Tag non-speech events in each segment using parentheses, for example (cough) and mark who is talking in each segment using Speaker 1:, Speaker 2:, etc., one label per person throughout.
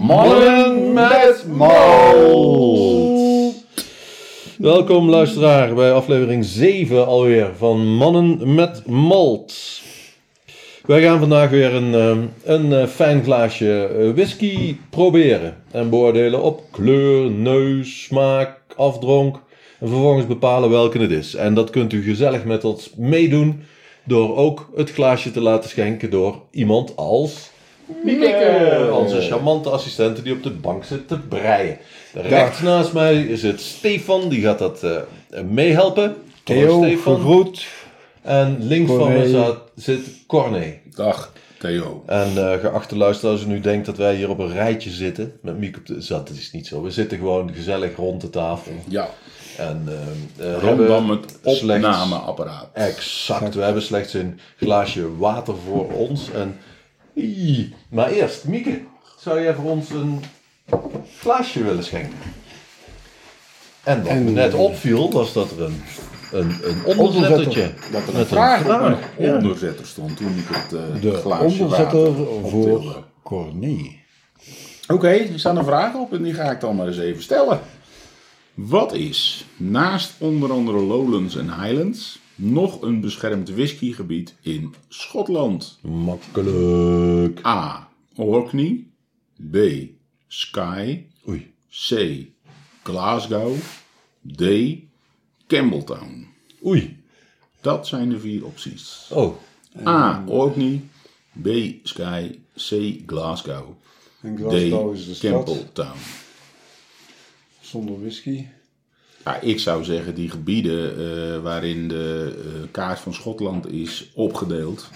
Speaker 1: Mannen met malt. Welkom luisteraar bij aflevering 7 alweer van Mannen met malt. Wij gaan vandaag weer een, ehm, een eh, fijn glaasje eh, whisky proberen en beoordelen op kleur, neus, smaak, afdronk. En vervolgens bepalen welke het is. En dat kunt u gezellig met ons meedoen door ook het glaasje te laten schenken door iemand als Mieke, Eh, onze charmante assistente die op de bank zit te breien. Rechts naast mij zit Stefan, die gaat dat eh, meehelpen. Hallo,
Speaker 2: Theo, gegroet.
Speaker 1: En links van
Speaker 2: Corné.
Speaker 1: me zat- zit Corné.
Speaker 3: Dag, Theo.
Speaker 1: En eh, geachte luisteraar, als u nu denkt dat wij hier op een rijtje zitten, met Mieke op de... Zat, dat is niet zo. We zitten gewoon gezellig rond de tafel.
Speaker 3: Ja,
Speaker 1: En, eh, eh,
Speaker 3: rondom
Speaker 1: hebben
Speaker 3: het
Speaker 1: slechts-
Speaker 3: opnameapparaat.
Speaker 1: Exact. We hebben slechts een glaasje water voor ons. En... Ie. Maar eerst, Mieke, zou jij voor ons een glaasje willen schenken? En wat me net opviel, was dat er een, een, een onderzettertje
Speaker 3: Dat er een
Speaker 1: met
Speaker 3: vraag
Speaker 1: een
Speaker 3: op
Speaker 1: vraag.
Speaker 3: mijn onderzetter stond toen ik het eh
Speaker 2: De
Speaker 3: glaasje
Speaker 2: onderzetter
Speaker 3: water optilde.
Speaker 2: voor Corné.
Speaker 3: Oké, er staan een vraag op en die ga ik dan maar eens even stellen. Wat is, naast onder andere Lowlands en Highlands, nog een beschermd whiskygebied in Schotland?
Speaker 1: Makkelijk.
Speaker 3: A. Orkney. B. Skye.
Speaker 1: Oei.
Speaker 3: C. Glasgow. D. Campbelltown.
Speaker 1: Oei.
Speaker 3: Dat zijn de vier opties.
Speaker 1: Oh.
Speaker 3: A. Orkney. B. Sky. C. Glasgow.
Speaker 2: En
Speaker 3: D. Campbelltown.
Speaker 2: zonder whisky.
Speaker 3: Ja, ik zou zeggen, die gebieden eh, waarin de eh, kaart van Schotland is opgedeeld,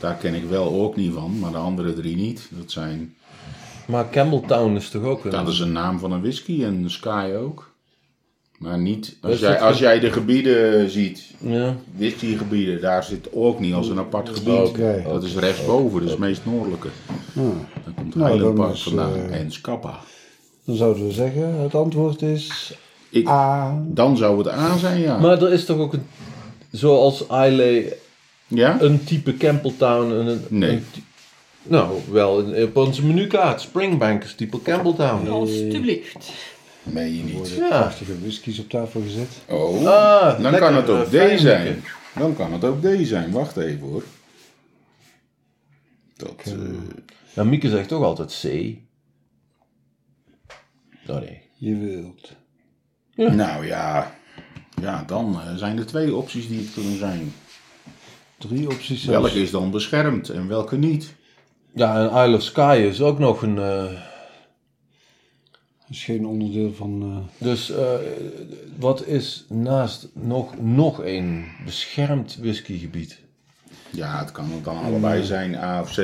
Speaker 3: daar ken ik wel Orkney van, maar de andere drie niet. Dat, zijn,
Speaker 1: Maar Campbelltown is toch ook een...
Speaker 3: dat is een naam van een whisky en Sky ook. Maar niet,
Speaker 1: Is
Speaker 3: als jij,
Speaker 1: dat-
Speaker 3: als jij de gebieden ziet,
Speaker 1: Ja.
Speaker 3: whiskygebieden, daar zit Orkney als een apart gebied.
Speaker 2: Oké.
Speaker 3: Dat is rechtsboven, dat is het meest noordelijke. Dan komt
Speaker 2: Nou,
Speaker 3: Highland
Speaker 2: dan
Speaker 3: Park
Speaker 2: is,
Speaker 3: vandaan
Speaker 2: eh,
Speaker 3: en Scapa.
Speaker 2: Dan zouden we zeggen, het antwoord is
Speaker 3: Ik,
Speaker 2: A.
Speaker 3: Dan zou het A zijn, ja.
Speaker 1: Maar er is toch ook een... Zoals Islay
Speaker 3: ja?
Speaker 1: een type Campbelltown. Een, een,
Speaker 3: Nee.
Speaker 1: een ty- nou, wel, een, op onze menukaart. Springbank is type Campbelltown.
Speaker 4: Alstublieft.
Speaker 3: Meen je niet.
Speaker 1: Ja.
Speaker 2: Prachtige whiskies op tafel gezet.
Speaker 3: Oh,
Speaker 1: Ah,
Speaker 3: dan
Speaker 1: lekker,
Speaker 3: kan het
Speaker 1: eh,
Speaker 3: ook
Speaker 1: fijn,
Speaker 3: D zijn.
Speaker 1: Mieke.
Speaker 3: Dan kan het ook D zijn. Wacht even hoor. Dat, eh,
Speaker 1: Nou, Mieke zegt toch altijd C. Oh nee.
Speaker 2: Je wilt.
Speaker 3: Nou ja. Ja, dan eh, zijn er twee opties die het kunnen zijn.
Speaker 2: Drie opties zelfs.
Speaker 3: Welke is dan beschermd en welke niet?
Speaker 1: Ja, en Isle of Skye is ook nog een... eh,
Speaker 2: is geen onderdeel van... eh,
Speaker 1: dus eh, wat is naast nog, nog een beschermd whiskygebied?
Speaker 3: Ja, het kan
Speaker 1: Mm.
Speaker 3: dan allebei zijn A of C.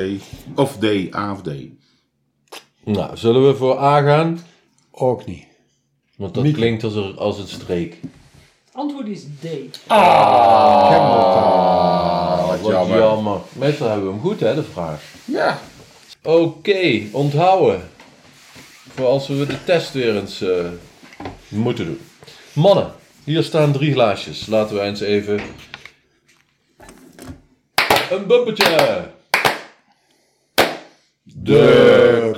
Speaker 3: Of D, A of D.
Speaker 1: Nou, zullen we voor A gaan?
Speaker 2: Orkney.
Speaker 1: Want dat klinkt als, er, als een streek.
Speaker 4: Antwoord is D.
Speaker 3: Ah, wat
Speaker 1: Wat jammer.
Speaker 3: jammer.
Speaker 1: Meestal hebben we hem goed, hè, de vraag.
Speaker 3: Ja.
Speaker 1: Oké, onthouden. Voor als we de test weer eens eh, moeten doen. Mannen, hier staan drie glaasjes. Laten we eens even... Een bumpertje! De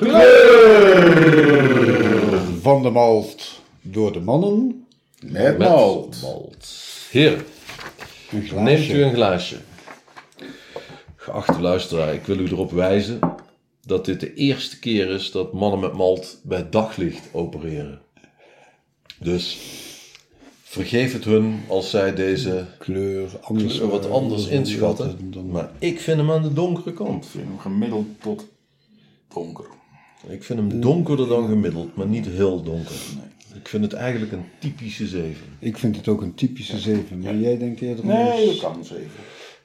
Speaker 2: Van de malt door de mannen.
Speaker 3: Met
Speaker 1: met
Speaker 3: malt.
Speaker 1: malt. Heren,
Speaker 2: Een
Speaker 1: Neemt
Speaker 2: glaasje.
Speaker 1: u een glaasje. Geachte luisteraar, ik wil u erop wijzen dat dit de eerste keer is dat mannen met malt bij daglicht opereren. Dus vergeef het hun als zij deze
Speaker 2: kleur anders.
Speaker 1: kleur wat
Speaker 2: eh,
Speaker 1: anders
Speaker 2: dan-
Speaker 1: inschatten.
Speaker 2: dan-
Speaker 1: Maar ik vind hem aan de donkere kant.
Speaker 3: Ik vind hem gemiddeld tot donker.
Speaker 1: Ik vind hem donkerder dan gemiddeld, maar niet heel donker. Ik vind het eigenlijk een typische zeven.
Speaker 2: Ik vind het ook een typische 7, maar jij denkt eerder
Speaker 3: Nee,
Speaker 1: Dus-
Speaker 3: dat
Speaker 2: een,
Speaker 3: kan zeven.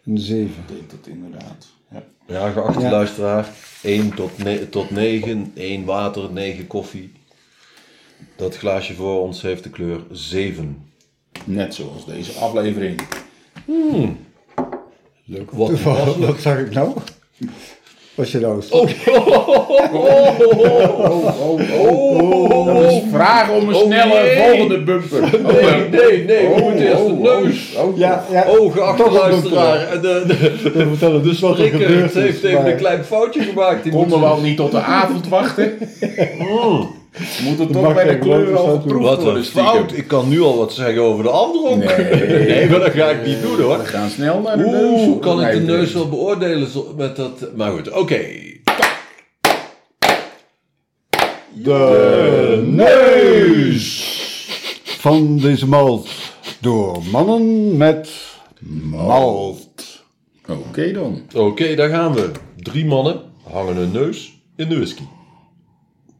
Speaker 2: een 7.
Speaker 3: Ik denk dat inderdaad. Ja.
Speaker 1: Ja, geachte
Speaker 2: Ja.
Speaker 1: luisteraar, 1 tot, ne- tot 9, 1 water, 9 koffie. Dat glaasje voor ons heeft de kleur 7.
Speaker 3: Net zoals deze aflevering.
Speaker 2: Leuk.
Speaker 1: Wat (laughs)
Speaker 2: Oh, (laughs) Wat, wat zag ik nou? Wat je roost.
Speaker 1: Oh,
Speaker 3: Oh, oh, Dat is vraag om een
Speaker 1: Oh,
Speaker 3: snelle
Speaker 1: nee.
Speaker 3: volgende bumper.
Speaker 1: (laughs) Nee, nee, nee, we moeten eerst de neus.
Speaker 3: Oh, oh.
Speaker 2: Ja, ja.
Speaker 1: Oh, geachte
Speaker 2: Toch wel
Speaker 1: luisteraar. De, de,
Speaker 2: We vertellen dus wat er gebeurd
Speaker 1: Rickert
Speaker 2: is.
Speaker 1: heeft even
Speaker 2: maar
Speaker 1: een klein foutje gemaakt. Die
Speaker 3: Konden we
Speaker 1: moeten-
Speaker 3: al niet tot de avond
Speaker 1: (laughs)
Speaker 3: wachten?
Speaker 1: Mm.
Speaker 3: We moeten toch
Speaker 2: mag
Speaker 3: bij de
Speaker 2: geen geloof
Speaker 3: kleur al
Speaker 2: bestaan
Speaker 3: geproefd
Speaker 1: Wat
Speaker 3: worden.
Speaker 1: een
Speaker 3: stiekem.
Speaker 1: fout. Ik kan nu al wat zeggen over de afdronk.
Speaker 3: Nee.
Speaker 1: Nee, maar (laughs) dat ga ik niet doen
Speaker 3: We
Speaker 1: hoor.
Speaker 3: gaan snel naar de neus.
Speaker 1: Oeh,
Speaker 3: hoor,
Speaker 1: kan ik
Speaker 3: mij
Speaker 1: de neus
Speaker 3: betreft.
Speaker 1: wel beoordelen zo- met dat... Maar goed, oké.
Speaker 2: De neus van deze malt door mannen met malt.
Speaker 3: Oké dan.
Speaker 1: Oké, daar gaan we. Drie mannen hangen hun neus in de whisky.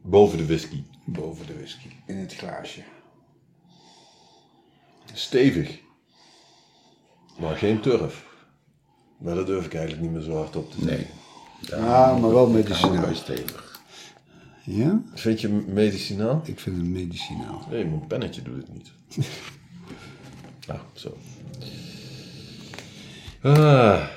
Speaker 1: Boven de whisky.
Speaker 2: Boven de whisky in het glaasje.
Speaker 1: Stevig. Maar geen turf. Maar dat durf ik eigenlijk niet meer zo hard op te zeggen.
Speaker 3: Nee,
Speaker 2: Ah, maar wel
Speaker 3: dat
Speaker 2: medicinaal.
Speaker 3: is stevig.
Speaker 2: Ja?
Speaker 1: Vind je medicinaal?
Speaker 2: Ik vind het medicinaal.
Speaker 1: Nee, mijn pennetje doet het (laughs) niet. ah, zo. Ah.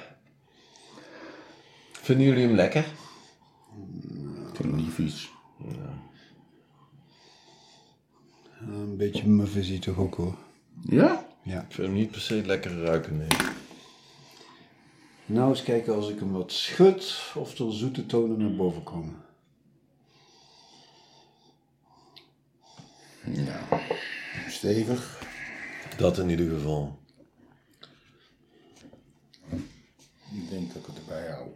Speaker 1: Vinden jullie hem lekker?
Speaker 3: Ik vind het niet vies.
Speaker 2: Ah, Een beetje muff is hij toch ook hoor.
Speaker 3: Ja?
Speaker 2: Ja.
Speaker 1: Ik vind hem niet per se lekker ruiken, nee.
Speaker 2: Nou eens kijken als ik hem wat schud of er zoete tonen naar boven komen.
Speaker 3: Stevig.
Speaker 1: Dat in ieder geval.
Speaker 3: Ik denk dat ik het erbij hou.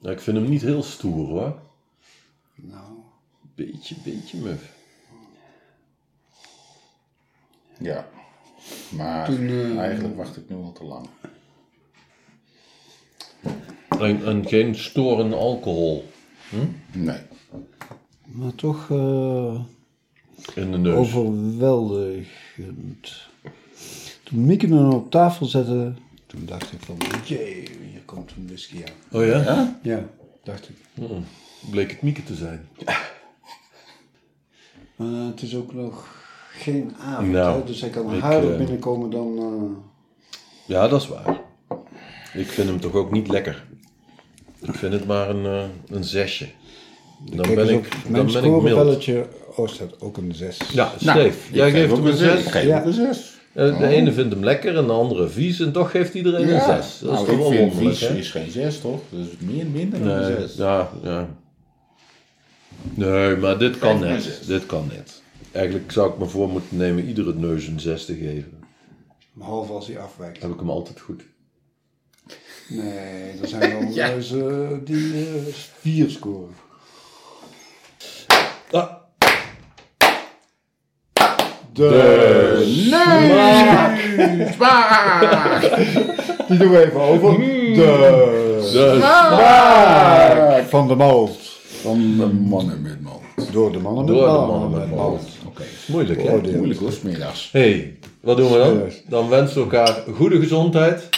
Speaker 1: Nou, ik vind hem niet heel stoer hoor.
Speaker 2: Nou,
Speaker 1: Beetje, beetje muf.
Speaker 3: Ja. Maar eigenlijk wacht ik nu al te lang.
Speaker 1: En, en geen storende alcohol
Speaker 3: Nee.
Speaker 2: maar toch eh,
Speaker 1: in de neus.
Speaker 2: overweldigend. Toen Mieke hem op tafel zette, toen dacht ik van, jee, hier komt een whisky aan.
Speaker 1: Oh ja?
Speaker 2: Ja, dacht ik.
Speaker 1: Bleek het Mieke te zijn.
Speaker 2: Maar eh, het is ook nog geen avond,
Speaker 1: Nou,
Speaker 2: hè, dus hij kan
Speaker 1: ik,
Speaker 2: harder
Speaker 1: eh,
Speaker 2: binnenkomen dan... eh,
Speaker 1: Ja, dat is waar. Ik vind hem toch ook niet lekker. Ik vind het maar een, eh, een zesje. Dan
Speaker 2: Kijk
Speaker 1: ben
Speaker 2: eens
Speaker 1: ik,
Speaker 2: op
Speaker 1: dan
Speaker 2: mijn
Speaker 1: ben ik mild.
Speaker 2: scorebelletje. Oh, staat ook een 6.
Speaker 1: Ja, Steef, jij geeft hem een zes.
Speaker 3: Ik geef
Speaker 2: Ja.
Speaker 3: ook een zes.
Speaker 1: Eh, De ene vindt hem lekker en de andere vies. En toch geeft iedereen een zes. Dat
Speaker 3: nou, ik
Speaker 1: is toch wel
Speaker 3: vind
Speaker 1: wonderlijk,
Speaker 3: vies
Speaker 1: hè?
Speaker 3: is geen zes, toch? Dat is meer, minder dan een
Speaker 1: Nee,
Speaker 3: zes.
Speaker 1: ja, ja. Nee, maar dit kan
Speaker 3: Geef me een
Speaker 1: net.
Speaker 3: zes.
Speaker 1: Dit kan net. Eigenlijk zou ik me voor moeten nemen iedere neus een zes te geven.
Speaker 2: Behalve als hij afwijkt.
Speaker 1: Heb ik hem altijd goed.
Speaker 2: Nee, er zijn
Speaker 1: (laughs)
Speaker 2: wel reuzen die eh, vier scoren.
Speaker 1: Ah,
Speaker 3: Zwaar!
Speaker 2: Die doen we even over.
Speaker 1: Hmm.
Speaker 2: De
Speaker 1: dus
Speaker 2: smaak van de malt.
Speaker 3: Van de mannen met malt.
Speaker 2: Door de mannen met
Speaker 1: Door de
Speaker 2: malt.
Speaker 1: mannen met malt.
Speaker 3: Oké.
Speaker 1: moeilijk, hè?
Speaker 2: Oordeel.
Speaker 3: Moeilijk hoor, smiddags.
Speaker 1: hey, wat doen we dan?
Speaker 2: Serieus.
Speaker 1: Dan wensen we elkaar goede gezondheid.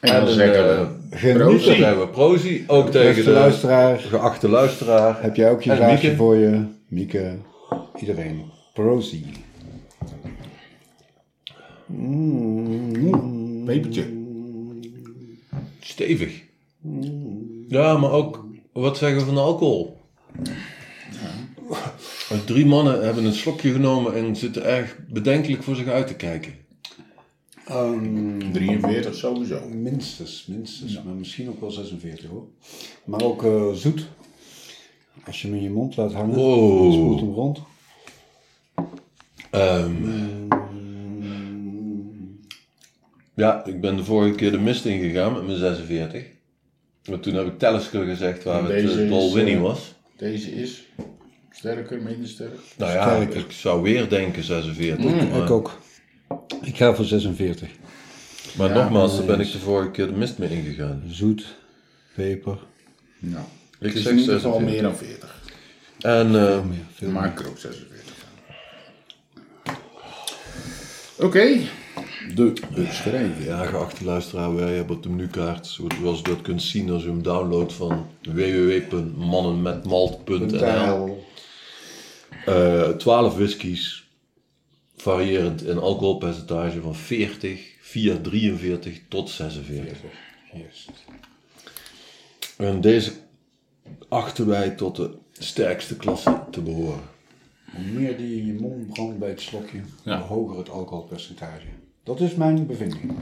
Speaker 3: En dan
Speaker 1: een,
Speaker 3: zeggen
Speaker 1: eh,
Speaker 3: we...
Speaker 1: Dan
Speaker 2: Geniet
Speaker 3: Proost.
Speaker 1: zeggen we prozie. Ook tegen de
Speaker 2: Beste luisteraar,
Speaker 1: geachte luisteraar.
Speaker 2: heb jij ook je
Speaker 1: En
Speaker 2: glaasje
Speaker 1: Mieke?
Speaker 2: voor je? Mieke, iedereen. Prozie. Mm.
Speaker 3: Pepertje.
Speaker 1: Stevig. Ja, maar ook, wat zeggen we van de alcohol? Drie mannen hebben een slokje genomen en zitten erg bedenkelijk voor zich uit te kijken.
Speaker 3: 43 sowieso.
Speaker 2: Minstens, minstens. Maar misschien ook wel 46 hoor. Maar ook eh, zoet. Als je hem in je mond laat hangen,
Speaker 1: Wow.
Speaker 2: dan spoelt hem rond.
Speaker 1: Ehm, ja, ik ben de vorige keer de mist ingegaan met mijn 46. Maar toen heb ik Telesco gezegd waar
Speaker 3: En
Speaker 1: het
Speaker 3: deze
Speaker 1: eh,
Speaker 3: is,
Speaker 1: Balwinnie
Speaker 3: eh,
Speaker 1: was.
Speaker 3: Deze is sterker, minder sterk.
Speaker 1: Nou ja, ik zou weer denken 46.
Speaker 3: Mm,
Speaker 1: maar
Speaker 2: Ik ook. Ik ga voor 46.
Speaker 1: maar nogmaals, daar ben ik de vorige keer de mist mee ingegaan. Dus
Speaker 2: Zoet, peper.
Speaker 3: Nou,
Speaker 1: Ik
Speaker 3: het is
Speaker 1: zeg
Speaker 3: in ieder geval
Speaker 1: 46.
Speaker 3: meer dan 40.
Speaker 1: En eh,
Speaker 3: Maar ik er ook 46 Oké. De beschrijving.
Speaker 1: Ja, geachte luisteraar, wij hebben op de menukaart, zoals je dat kunt zien als u hem downloadt van www.mannenmetmalt.nl, eh 12 whiskies, variërend in alcoholpercentage van 40 via 43 tot 46.
Speaker 2: Juist.
Speaker 1: En deze achten wij tot de sterkste klasse te behoren.
Speaker 2: Hoe meer die in je mond brandt bij het slokje,
Speaker 3: Ja.
Speaker 2: hoe hoger het alcoholpercentage. Dat is mijn bevinding.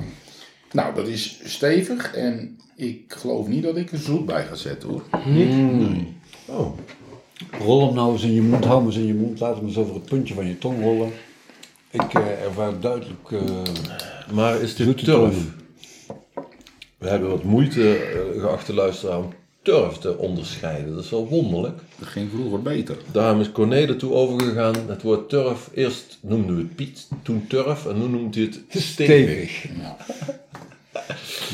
Speaker 3: Nou, dat is stevig en ik geloof niet dat ik er zoet bij ga zetten hoor.
Speaker 2: Oh. Rol hem nou eens in je mond, hou hem eens in je mond, laat hem eens over het puntje van je tong rollen. Ik eh, ervaar duidelijk eh,
Speaker 1: Maar is dit
Speaker 2: zoete
Speaker 1: turf?
Speaker 2: tonen.
Speaker 1: We hebben wat moeite, eh, geachte luisteraar, om turf te onderscheiden. Dat is wel wonderlijk.
Speaker 3: Dat ging vroeger beter.
Speaker 1: Daarom is Cornede toe overgegaan. Het woord turf, eerst noemden we het Piet, toen turf en nu noemt hij het stevig.
Speaker 2: stevig.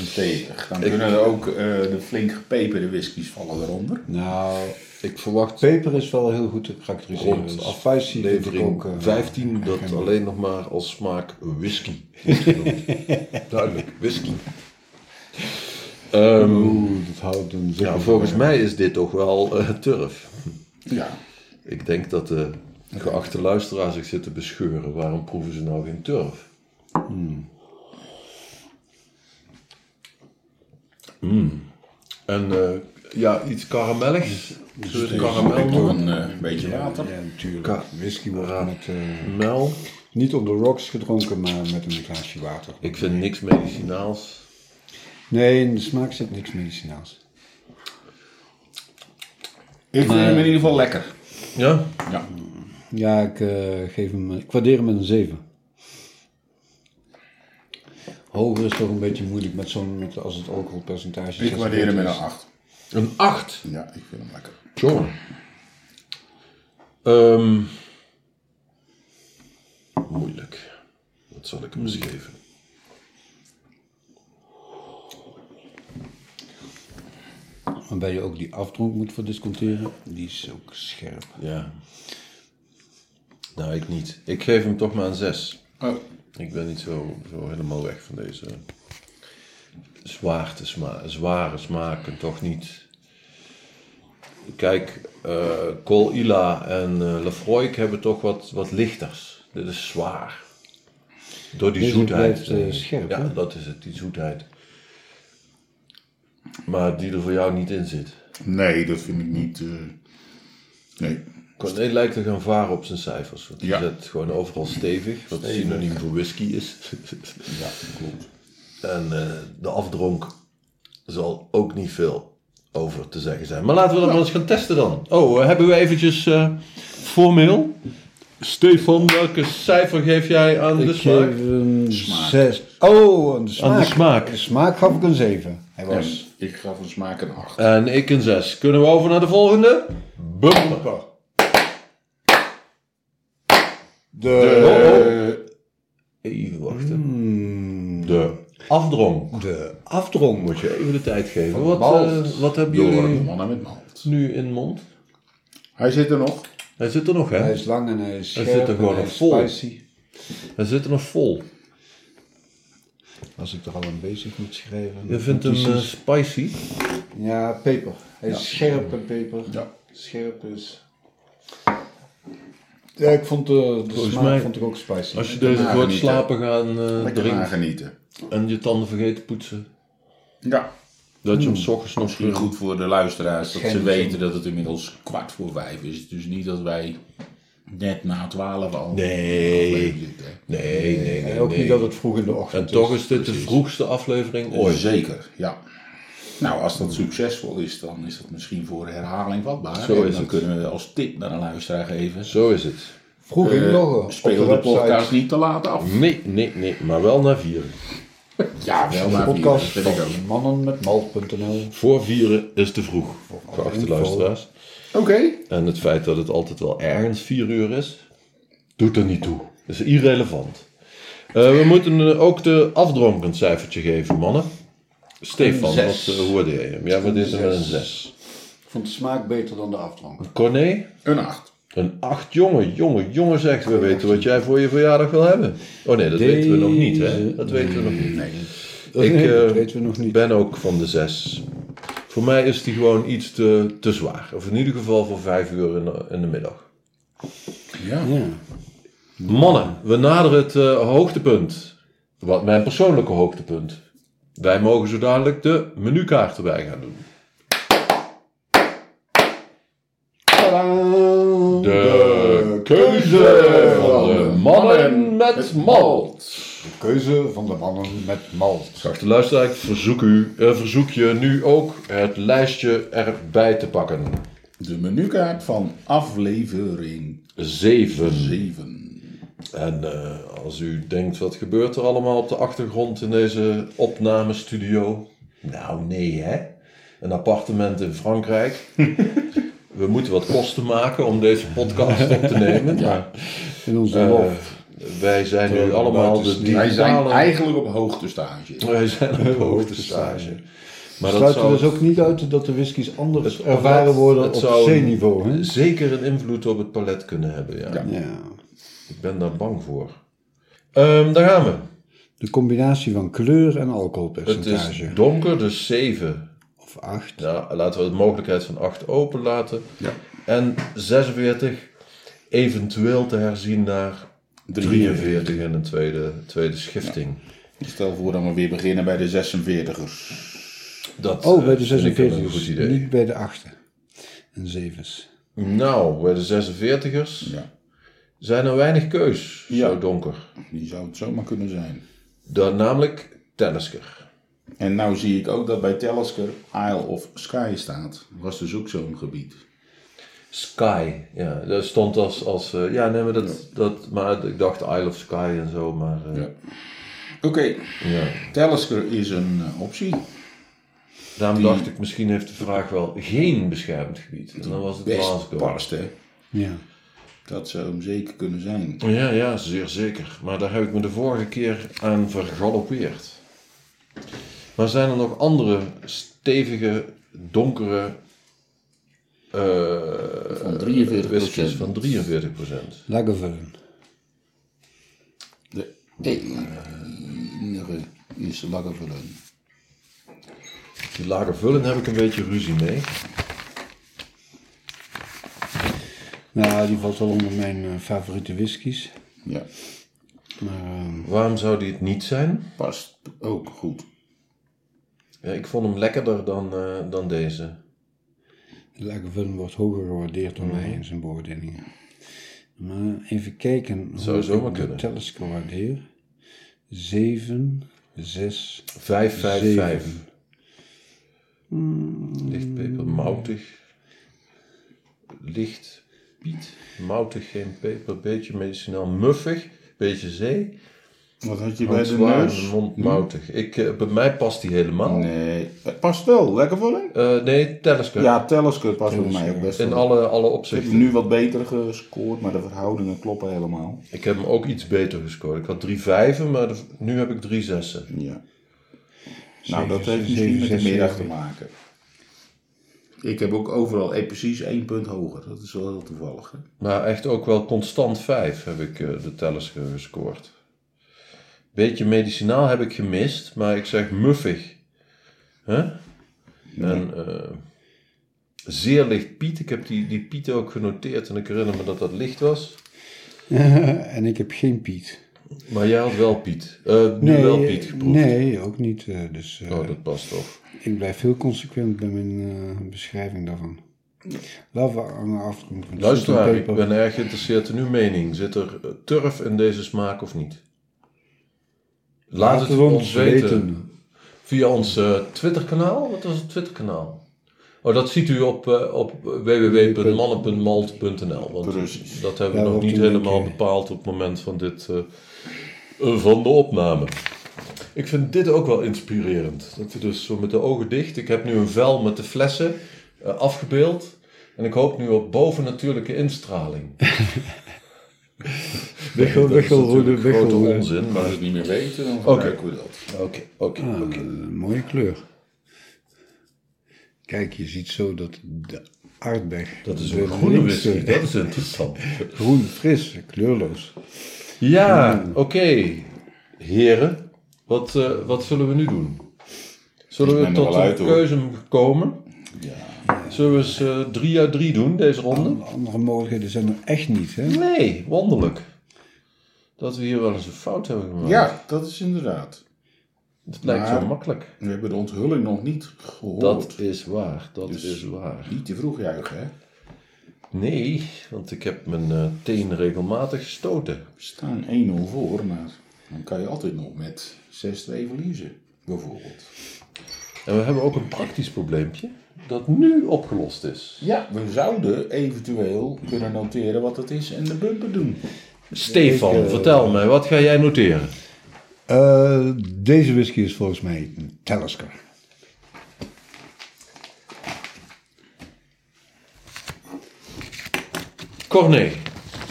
Speaker 3: Stevig. Dan kunnen er ook eh, de flink gepeperde whiskies vallen eronder.
Speaker 2: Nou,
Speaker 1: Ik verwacht
Speaker 2: peper is wel heel goed te karakteriseren.
Speaker 1: Rond
Speaker 2: Afwijsie vind ik ook.
Speaker 1: levering
Speaker 2: eh,
Speaker 1: 15 dat alleen nog maar als smaak whisky is genoemd. Duidelijk, whisky. Ehm,
Speaker 2: Oeh, dat houdt een zeker.
Speaker 1: ja, volgens mij is dit toch wel eh, turf.
Speaker 3: Ja.
Speaker 1: Ik denk dat de geachte luisteraar zich zit te bescheuren. Waarom proeven ze nou geen turf? Hmm. Mm. En eh, ja, iets karamelligs. Zullen we het karamel
Speaker 3: Ik doe
Speaker 1: noemen?
Speaker 3: een eh, beetje water.
Speaker 2: Ja, natuurlijk.
Speaker 1: Ka-
Speaker 2: Whisky wordt met, eh,
Speaker 1: Mel.
Speaker 2: niet op de rocks gedronken, maar met een glaasje water.
Speaker 1: Ik vind niks medicinaals.
Speaker 2: Nee, in de smaak zit niks medicinaals.
Speaker 3: Ik vind hem in ieder geval lekker.
Speaker 1: Ja?
Speaker 3: Ja.
Speaker 2: Ja, ik eh, geef hem, ik waardeer hem met een 7. Hoger is toch een beetje moeilijk met zo'n, met, als het alcoholpercentage
Speaker 3: Ik waardeer hem met een
Speaker 2: 8.
Speaker 3: 8.
Speaker 1: Een 8.
Speaker 3: Ja, ik vind hem lekker.
Speaker 1: Jongen. Ehm, moeilijk. Wat zal ik hem eens geven?
Speaker 2: Waarbij je ook die afdronk moet voor disconteren. Die is ook scherp.
Speaker 1: Ja. Nou, ik niet. Ik geef hem toch maar een 6.
Speaker 3: Oh,
Speaker 1: Ik ben niet zo, zo helemaal weg van deze zwaarte sma zware smaken, toch niet. Kijk, eh Col Ila en eh Lafroik hebben toch wat, wat lichters. Dit is zwaar. Door die
Speaker 2: Deze
Speaker 1: zoetheid.
Speaker 2: blijft, eh,
Speaker 1: eh,
Speaker 2: scherp,
Speaker 1: Ja,
Speaker 2: hè?
Speaker 1: dat is het, die zoetheid. Maar die er voor jou niet in zit.
Speaker 3: nee, dat vind ik niet. eh, nee.
Speaker 1: Corné lijkt te gaan varen op zijn cijfers. Want die
Speaker 3: Ja.
Speaker 1: zet gewoon overal stevig, wat synoniem voor whisky is.
Speaker 3: Ja, klopt.
Speaker 1: En eh, de afdronk zal ook niet veel over te zeggen zijn. Maar laten
Speaker 3: Nou.
Speaker 1: we dat maar eens gaan testen dan. Oh, eh, hebben we eventjes eh, formeel. Stefan, welke cijfer geef jij aan de
Speaker 2: Ik eh,
Speaker 1: smaak?
Speaker 2: geef een
Speaker 3: Smaak.
Speaker 2: 6. Oh, aan de smaak.
Speaker 1: smaak.
Speaker 2: De smaak gaf ik een 7. Hij was...
Speaker 3: Ik ga van smaak een 8.
Speaker 1: En ik een 6. Kunnen we over naar de volgende? Bumper.
Speaker 2: De...
Speaker 1: Oh. Even wachten.
Speaker 2: Hmm,
Speaker 1: De afdronk.
Speaker 2: de afdronk
Speaker 1: Moet je even de tijd geven.
Speaker 2: Van
Speaker 1: Wat,
Speaker 2: Malt.
Speaker 1: eh, wat hebben
Speaker 3: Door een
Speaker 1: jullie
Speaker 3: mannen met malt.
Speaker 1: nu in mond?
Speaker 3: Hij zit er nog.
Speaker 1: Hij zit er nog,
Speaker 2: Hij
Speaker 1: hè?
Speaker 2: is lang en hij is
Speaker 1: Hij
Speaker 2: scherp
Speaker 1: zit er gewoon
Speaker 2: en hij
Speaker 1: nog
Speaker 2: is
Speaker 1: vol.
Speaker 2: spicy.
Speaker 1: Hij zit er nog vol.
Speaker 2: Als ik er al aan bezig moet schrijven.
Speaker 1: Je vindt hem eh, spicy.
Speaker 2: Ja, peper. Hij is scherp en peper.
Speaker 3: Ja.
Speaker 2: Scherp is... Ja, ik vond de, de
Speaker 1: Volgens
Speaker 2: smaak
Speaker 1: mij- Oh,
Speaker 2: vond ik ook spicy.
Speaker 1: Als je deze voor het
Speaker 3: nagenieten.
Speaker 1: slapen gaan eh,
Speaker 3: Lekker
Speaker 1: drinkt
Speaker 3: nagenieten.
Speaker 1: en je tanden vergeet te poetsen,
Speaker 3: Ja.
Speaker 1: dat je hem 's ochtends nog
Speaker 3: Misschien
Speaker 1: goed.
Speaker 3: goed voor de luisteraars dat ze
Speaker 2: Geen
Speaker 3: weten dat het inmiddels kwart voor vijf is. Dus niet dat wij net na twaalf al.
Speaker 1: Nee.
Speaker 3: zitten.
Speaker 1: Nee, nee, nee.
Speaker 2: en ook
Speaker 1: nee.
Speaker 2: niet dat het vroeg in de ochtend
Speaker 1: En toch
Speaker 2: is.
Speaker 1: is dit de vroegste aflevering Dus ooit.
Speaker 3: Zeker, ja. Nou, als dat succesvol is, dan is dat misschien voor herhaling vatbaar.
Speaker 1: Zo
Speaker 3: En
Speaker 1: is
Speaker 3: dan
Speaker 1: het.
Speaker 3: kunnen we als tip naar een luisteraar geven.
Speaker 1: Zo is het.
Speaker 2: Vroeg in de
Speaker 1: eh,
Speaker 2: ochtend.
Speaker 3: Speel de, podcast niet te laat af.
Speaker 1: Nee, nee, nee, maar wel naar vieren.
Speaker 3: Ja, wel maar
Speaker 2: podcast
Speaker 3: vier, dat vind ik ook.
Speaker 2: van mannenmetmalt.nl.
Speaker 1: Voor vieren is te vroeg, geachte
Speaker 2: info.
Speaker 1: luisteraars.
Speaker 3: Oké.
Speaker 1: En het feit dat het altijd wel ergens vier uur is, doet er niet toe. Dat is irrelevant. Eh, we moeten eh, ook de afdronk een cijfertje geven, mannen. Stefan,
Speaker 2: Een
Speaker 1: wat,
Speaker 2: zes.
Speaker 1: eh, hoe waardeer je hem? Ja, wat is hem met een
Speaker 2: zes.
Speaker 1: 6?
Speaker 2: Ik vond de smaak beter dan de afdronk.
Speaker 1: Corné?
Speaker 3: Een acht.
Speaker 1: Een acht jongen, jongen, jongen zegt, we weten wat jij voor je verjaardag wil hebben. Oh nee, dat weten we nog niet, hè? Dat weten we nog niet. Ik
Speaker 2: Nee, dat
Speaker 1: eh,
Speaker 2: weten we nog niet.
Speaker 1: ben ook van de zes. Voor mij is die gewoon iets te, te zwaar. Of in ieder geval voor vijf uur in de, in de middag.
Speaker 3: Ja.
Speaker 2: Ja.
Speaker 1: Mannen, we naderen het eh, hoogtepunt. Wat mijn persoonlijke hoogtepunt Wij mogen zo dadelijk de menukaart erbij gaan doen.
Speaker 2: Tadaa!
Speaker 1: De
Speaker 2: keuze
Speaker 1: Van de mannen met malt.
Speaker 2: De keuze van de mannen met malt.
Speaker 1: Geachte luisteraar, ik verzoek, u, eh, verzoek je nu ook het lijstje erbij te pakken.
Speaker 3: De menukaart van aflevering
Speaker 1: 7.
Speaker 3: 7.
Speaker 1: En eh, als u denkt, wat gebeurt er allemaal op de achtergrond in deze opnamestudio? Nou, nee hè. Een appartement in Frankrijk.
Speaker 2: (laughs)
Speaker 1: We moeten wat kosten maken om deze podcast op te nemen. Maar,
Speaker 2: In onze
Speaker 1: eh,
Speaker 2: loft.
Speaker 1: wij zijn nu
Speaker 2: Terwijl
Speaker 1: allemaal
Speaker 2: buiten
Speaker 1: de
Speaker 2: is niet-
Speaker 1: digitale...
Speaker 3: Wij zijn eigenlijk op hoogtestage.
Speaker 1: Wij zijn op
Speaker 2: hoogtestage.
Speaker 1: hoogtestage.
Speaker 2: Maar
Speaker 1: Maar dat
Speaker 2: sluit er
Speaker 1: zou
Speaker 2: dus ook niet uit dat de whiskies anders
Speaker 1: Het-
Speaker 2: ervaren worden
Speaker 1: het
Speaker 2: op
Speaker 1: zou-
Speaker 2: zeeniveau. Hè?
Speaker 1: zeker een invloed op het palet kunnen hebben. Ja.
Speaker 3: Ja.
Speaker 2: Ja.
Speaker 1: Ik ben daar bang voor. Ehm, daar gaan we.
Speaker 2: De combinatie van kleur en
Speaker 1: Het is
Speaker 2: alcoholpercentage.
Speaker 1: donker, dus 7.
Speaker 2: Of acht.
Speaker 1: Nou, laten we de mogelijkheid van 8 open laten.
Speaker 3: Ja.
Speaker 1: En 46 eventueel te herzien naar 43 in een tweede, tweede schifting.
Speaker 3: Stel voor dat we weer beginnen bij de 46ers.
Speaker 1: Dat
Speaker 2: Oh, bij
Speaker 1: eh,
Speaker 2: de
Speaker 1: vind ik wel een goed
Speaker 2: 46.
Speaker 1: idee.
Speaker 2: Niet bij de achten. En zevens.
Speaker 1: Nou, bij de 46ers
Speaker 3: Ja.
Speaker 1: zijn er weinig keus.
Speaker 3: Ja.
Speaker 1: Zo donker.
Speaker 3: Die zou het zomaar kunnen zijn.
Speaker 1: Dan namelijk Tennisker.
Speaker 3: En nou zie ik ook dat bij Telescope Isle of Sky staat. Was dus ook zo'n gebied.
Speaker 1: Sky, ja, dat stond als, als eh, ja, nee, maar dat, dat, maar ik dacht Isle of Sky en zo, maar eh,
Speaker 3: Ja.
Speaker 1: ja.
Speaker 3: Oké, Telescope is een eh, optie.
Speaker 1: daarom dacht ik, misschien heeft de vraag wel geen beschermd gebied. En dan was het
Speaker 3: Best
Speaker 1: Glasgow.
Speaker 3: past, hè.
Speaker 2: Ja.
Speaker 3: Dat zou hem zeker kunnen zijn.
Speaker 1: Ja, ja, zeer zeker. Maar daar heb ik me de vorige keer aan vergaloppeerd. Maar zijn er nog andere stevige, donkere eh
Speaker 3: Van 43
Speaker 1: whiskies van 43 procent?
Speaker 2: Lagavulin.
Speaker 3: De enige is Lagavulin.
Speaker 1: Die lager vullen heb ik een beetje ruzie mee.
Speaker 2: Nou, die valt wel onder mijn eh, favoriete whiskies.
Speaker 3: Ja,
Speaker 2: Maar ehm,
Speaker 1: Waarom zou die het niet zijn?
Speaker 3: past ook goed.
Speaker 1: Ja, ik vond hem lekkerder dan, eh, dan deze.
Speaker 2: Lagavulin wordt hoger gewaardeerd
Speaker 1: Mhm.
Speaker 2: door mij in zijn beoordelingen. Maar even kijken. hoe
Speaker 1: Zou zomaar
Speaker 2: ik de
Speaker 1: kunnen.
Speaker 2: Telescope waardeer. 7, 6,
Speaker 1: 555.
Speaker 2: Zeven.
Speaker 1: Licht pepermoutig. Licht piet. Moutig, geen peper. Beetje medicinaal muffig. Beetje zee.
Speaker 3: Wat had je bij
Speaker 1: Want
Speaker 3: de
Speaker 1: zwaar in
Speaker 3: neus? Hm? Oh,
Speaker 1: de mond moutig. Ik, eh, bij mij past die helemaal. Nee,
Speaker 3: Nee, het past wel. Lagavulin?
Speaker 1: nee telescope.
Speaker 3: Ja, Telescope past bij mij ook best
Speaker 1: In
Speaker 3: wel.
Speaker 1: alle, alle
Speaker 3: Ik heb
Speaker 1: opzichten.
Speaker 3: nu wat beter gescoord, maar de verhoudingen kloppen helemaal.
Speaker 1: Ik heb hem ook iets beter gescoord. Ik had drie vijven, maar de- nu heb ik drie zessen.
Speaker 3: Ja. nou,
Speaker 2: Zeven,
Speaker 3: dat heeft
Speaker 2: zeven,
Speaker 3: misschien met de
Speaker 2: zes,
Speaker 3: middag
Speaker 2: zeven.
Speaker 3: te maken. Ik heb ook overal eh, precies één punt hoger. Dat is wel heel toevallig. Hè?
Speaker 1: Maar echt ook wel constant 5 heb ik eh, de tellers ge- gescoord. Beetje medicinaal heb ik gemist, maar ik zeg muffig. hè? En eh, zeer licht piet. Ik heb die, die piet ook genoteerd en ik herinner me dat dat licht was.
Speaker 2: en ik heb geen Piet.
Speaker 1: Maar jij had wel piet. Eh, nu wel piet geproefd.
Speaker 2: Nee, ook niet. eh, dus eh,
Speaker 1: Oh, dat past toch.
Speaker 2: ik blijf heel consequent bij mijn eh, beschrijving daarvan. Lava aan de afkomst van
Speaker 1: Luisteraar, ik
Speaker 2: zoete peper.
Speaker 1: ben erg geïnteresseerd in uw mening. Zit er eh, turf in deze smaak of niet? Laat, het ons weten. Via ons eh, Twitterkanaal? Wat was het Twitterkanaal? Oh, dat ziet u op, eh, op www.mannen.malt.nl. Want
Speaker 3: Precies.
Speaker 1: dat hebben
Speaker 2: Ja,
Speaker 1: we nog
Speaker 2: wordt
Speaker 1: niet
Speaker 2: een link,
Speaker 1: helemaal
Speaker 2: eh.
Speaker 1: bepaald op het moment van, dit, eh, eh, van de opname. Ik vind dit ook wel inspirerend. Dat we dus zo met de ogen dicht. Ik heb nu een vel met de flessen eh, afgebeeld. En ik hoop nu op bovennatuurlijke
Speaker 2: (laughs)
Speaker 1: instraling.
Speaker 2: Weggelroede,
Speaker 1: natuurlijk grote
Speaker 2: weggelroede.
Speaker 1: onzin. Maar...
Speaker 3: Als we het niet meer weten, dan
Speaker 1: gebruiken
Speaker 3: we dat.
Speaker 1: Oké, oké,
Speaker 2: Ah,
Speaker 1: oké.
Speaker 2: een mooie kleur. Kijk, je ziet zo dat de aardbeg...
Speaker 1: Dat is
Speaker 2: de
Speaker 1: een groene
Speaker 2: linkse-
Speaker 1: whisky. Dat is interessant.
Speaker 2: Groen, fris, kleurloos.
Speaker 1: Ja,
Speaker 3: Hmm.
Speaker 1: oké. Heren, wat, eh, wat zullen we nu doen? Zullen
Speaker 3: Ik
Speaker 1: we
Speaker 3: ben er
Speaker 1: tot
Speaker 3: wel
Speaker 1: een
Speaker 3: uit, hoor.
Speaker 1: keuze komen?
Speaker 3: Ja. Oh.
Speaker 1: Zullen we eens eh, drie uit drie doen, deze ronde?
Speaker 2: Andere mogelijkheden zijn er echt niet, hè?
Speaker 1: Nee, wonderlijk. Dat we hier wel eens een fout hebben gemaakt.
Speaker 3: ja, dat is inderdaad.
Speaker 1: Het lijkt zo
Speaker 3: Maar-
Speaker 1: makkelijk.
Speaker 3: We hebben de onthulling nog niet gehoord.
Speaker 1: Dat is waar, dat
Speaker 3: Dus-
Speaker 1: is waar.
Speaker 3: Niet te vroeg juichen, hè?
Speaker 1: Nee, want ik heb mijn eh, teen regelmatig gestoten.
Speaker 3: We staan 1-0 voor, maar dan kan je altijd nog met 6-2 verliezen, bijvoorbeeld.
Speaker 1: En we hebben ook een praktisch probleempje dat nu opgelost is.
Speaker 3: Ja, we zouden eventueel kunnen noteren wat het is en de bumper doen.
Speaker 1: Stefan,
Speaker 2: Ik, eh,
Speaker 1: vertel mij, wat ga jij noteren?
Speaker 2: Eh, deze whisky is volgens mij een Talisker.
Speaker 1: Corné,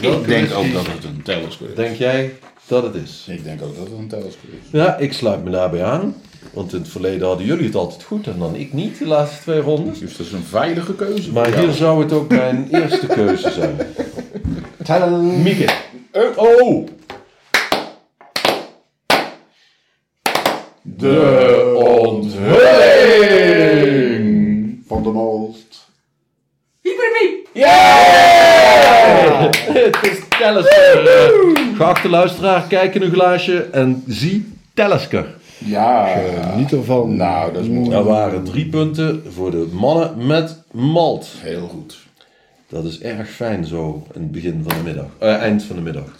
Speaker 3: Ik denk ook dat het een telescoop is.
Speaker 1: denk jij dat het is?
Speaker 3: Ik denk ook dat het een telescoop is.
Speaker 1: Ja, ik sluit me daarbij aan. Want in het verleden hadden jullie het altijd goed en dan ik niet de laatste twee rondes.
Speaker 3: Dus dat is een veilige keuze.
Speaker 1: Maar
Speaker 3: voor
Speaker 1: hier
Speaker 3: jou.
Speaker 1: zou het
Speaker 3: (laughs)
Speaker 1: ook mijn eerste keuze zijn.
Speaker 2: Tadam!
Speaker 1: Mieke. Oh!
Speaker 3: de onthulling.
Speaker 2: Van de Most.
Speaker 4: Hyperpiep!
Speaker 1: Het is Tellisker. Geachte luisteraar, kijk in uw glaasje en zie Tellisker.
Speaker 3: Ja.
Speaker 2: Niet ervan.
Speaker 3: Nou, dat is mooi.
Speaker 1: Er waren drie punten voor de mannen met malt.
Speaker 3: Heel goed.
Speaker 1: Dat is erg fijn zo in het begin van de middag. eh, eind van de middag.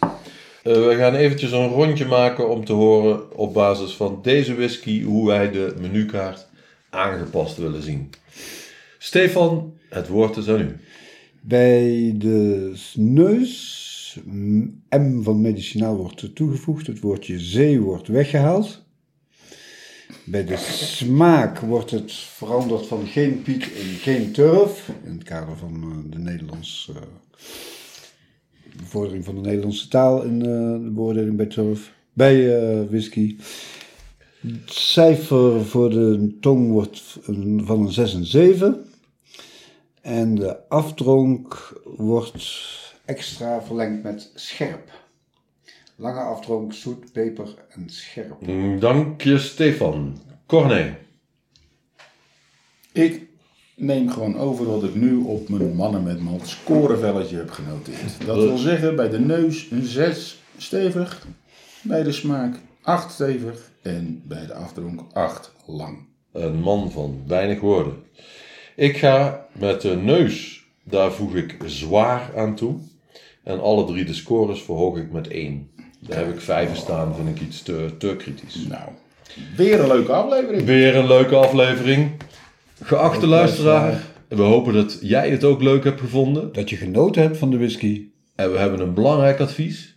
Speaker 1: Eh, we gaan eventjes een rondje maken om te horen op basis van deze whisky hoe wij de menukaart aangepast willen zien. Stefan, het woord is aan u.
Speaker 2: Bij de neus, m- M van medicinaal wordt toegevoegd, het woordje zee wordt weggehaald. Bij de smaak wordt het veranderd van geen piek in geen turf, in het kader van eh, de Nederlandse eh, bevordering van de Nederlandse taal in eh, de beoordeling bij turf, bij eh, whisky. Het cijfer voor de tong wordt een- van een 6 en 7. En de afdronk wordt extra verlengd met scherp. Lange afdronk, zoet, peper en scherp.
Speaker 1: Mm, Dank je, Stefan. Corné.
Speaker 3: Ik neem gewoon over wat ik nu op mijn mannen met malt scorevelletje heb genoteerd. Dat wil zeggen bij de neus een 6 stevig, bij de smaak 8 stevig en bij de afdronk 8 lang.
Speaker 1: Een man van weinig woorden. Ik ga met de neus, daar voeg ik zwaar aan toe. En alle drie de scores verhoog ik met één. Daar heb ik vijven staan, vind ik iets te, te kritisch.
Speaker 3: Nou, weer een leuke aflevering.
Speaker 1: Weer een leuke aflevering. Geachte luisteraar, we hopen dat jij het ook leuk hebt gevonden.
Speaker 2: Dat je genoten hebt van de whisky.
Speaker 1: En we hebben een belangrijk advies.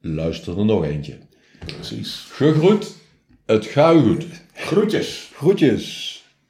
Speaker 1: Luister er nog eentje.
Speaker 3: Precies.
Speaker 1: Gegroet, het gaat u goed.
Speaker 3: Groetjes.
Speaker 2: Groetjes.